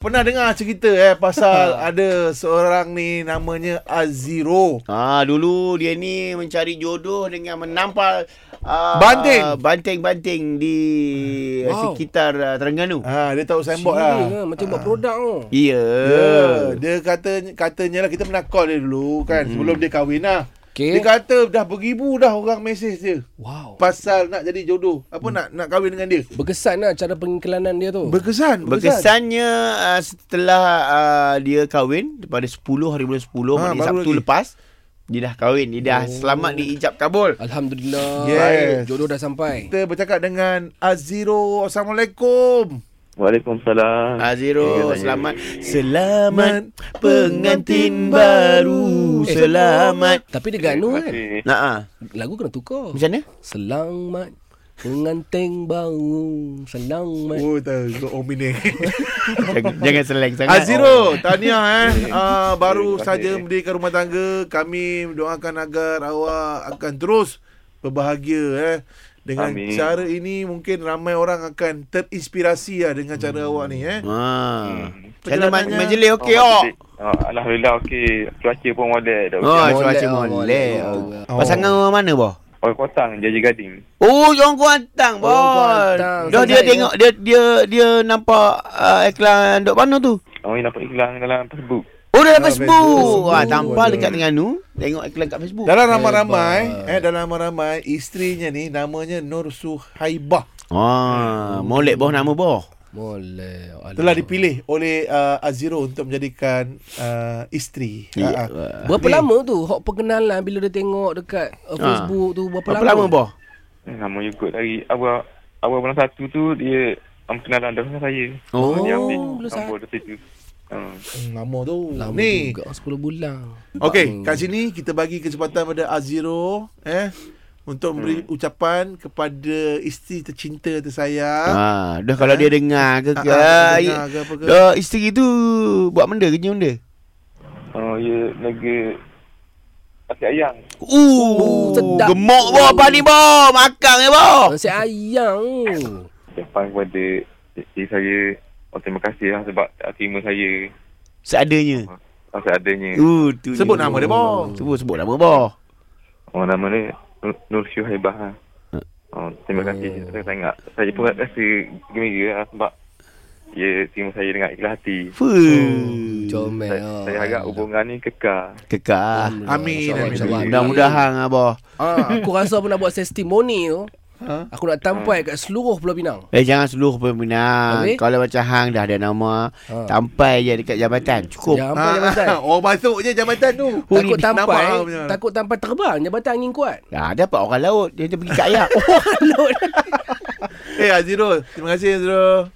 Pernah dengar cerita eh pasal ada seorang ni namanya Aziro. Ah dulu dia ni mencari jodoh dengan menampal ah, Banting. banting-banting di Wow. sekitar ah, Terengganu. Ha dia tahu Sini sembok lah. kan, macam buat produk tu. Ya. Ya, dia kata katanya lah kita pernah call dia dulu kan hmm. sebelum dia kahwin lah. Okey. Dia kata dah beribu dah orang mesej dia Wow. pasal nak jadi jodoh. Apa hmm. nak nak kahwin dengan dia. Berkesan lah cara pengiklanan dia tu. Berkesan, berkesan. Berkesannya uh, setelah uh, dia kahwin pada 10 hari bulan 10 Ha, ha, baru Sabtu lagi. lepas dia dah kahwin dia dah oh. selamat diijab kabul. Alhamdulillah. Yes. Jodoh dah sampai. Kita bercakap dengan Aziro. Assalamualaikum. Waalaikumsalam. Aziro Ah, selamat selamat pengantin pengantin baru. baru Eh, selamat. Tapi dia Ganu kan. Nah, ah. Lagu kena tukar. macam mana? Selamat pengantin baru. Selamat. Oh, tak omine. jangan, jangan seleng sangat. Ah, Aziro, tahniah eh. Ah, baru saja mendirikan rumah tangga. Kami doakan agar awak akan terus berbahagia eh. Dengan Amin. Amin. cara ini mungkin ramai orang akan terinspirasi lah dengan cara awak ni eh. Ha. Macam mana Perjalanannya- ma- majlis okey oh. Oh, Alhamdulillah okey. Cuaca pun molek dah. Oh, Oh. cuaca oh, molek. molek. Oh. Oh. Pasangan orang mana boh? Orang Kotang, Jaji Gading. Oh, yang kuantang boh. Orang Kuantan. Dah dia Sangat, tengok dia dia dia nampak uh, iklan dok mana tu? Orang ni dapat iklan dalam Facebook. Oh, dalam Dalam Facebook. Facebook. Ah, tampal Ada. dekat Terengganu, tengok iklan kat Facebook. Dalam ramai-ramai eh dalam ramai-ramai isterinya ni namanya Nur Suhaibah Ah, molek boh nama boh. Boleh. Alah. telah dipilih oleh uh, Aziro untuk menjadikan uh, isteri. Yeah. Ya. Uh, Berapa Ni. lama tu hak perkenalan bila dia tengok dekat uh, Facebook tu berapa, Berapa lama boh? Eh, Nama je kot lagi. Awal, awal bulan satu tu dia um, kenalan dah dengan saya. Oh. dia ambil bulan nombor dia situ. Hmm. lama tu. Lama ni. juga 10 bulan. Okey, kat sini kita bagi kesempatan pada Aziro eh untuk memberi Hmm. ucapan kepada isteri tercinta tersayang. Ah, dah kalau Eh? dia dengar ke Ah, ah, ke. dia dengar ke apa ke? Dah isteri tu buat benda kerja benda. Oh, dia lega kasih ayang. Uh, sedap. gemuk boh apa ni boh? Makan ya boh. Oh. Nasi ayam. Ucapan kepada isteri saya. Oh, terima kasih lah sebab tak terima saya. Seadanya. Oh, seadanya. Uh, tu Sebut nama dia, boh. Sebut sebut nama boh. Oh, nama dia Nur, Nur Syuhaibah lah. Ha. Oh, terima kasih sangat-sangat. Saya pun rasa gembira lah sebab dia terima saya dengan ikhlas hati. Fuh. Oh. Comel. Saya, saya ya. harap hubungan ni kekal. Kekal. lah, Amin, amin, amin. Mudah-mudahan abah. Ah, aku rasa aku nak buat testimoni tu. Ha? Aku nak tampai kat seluruh Pulau Pinang. Eh jangan seluruh peminat. Habis? Kalau macam hang dah ada nama, Ha. Ya. tampai je dekat jabatan. Cukup. Jabatan. Nampak jabatan? Ah, oh masuk je jabatan tu. Takut Nampak eh. tampai, lah punya. takut tampai terbang jabatan angin kuat. Dah dapat orang laut. Dia, dia pergi kat ayak. Kalau Eh Aziro, terima kasih Aziro.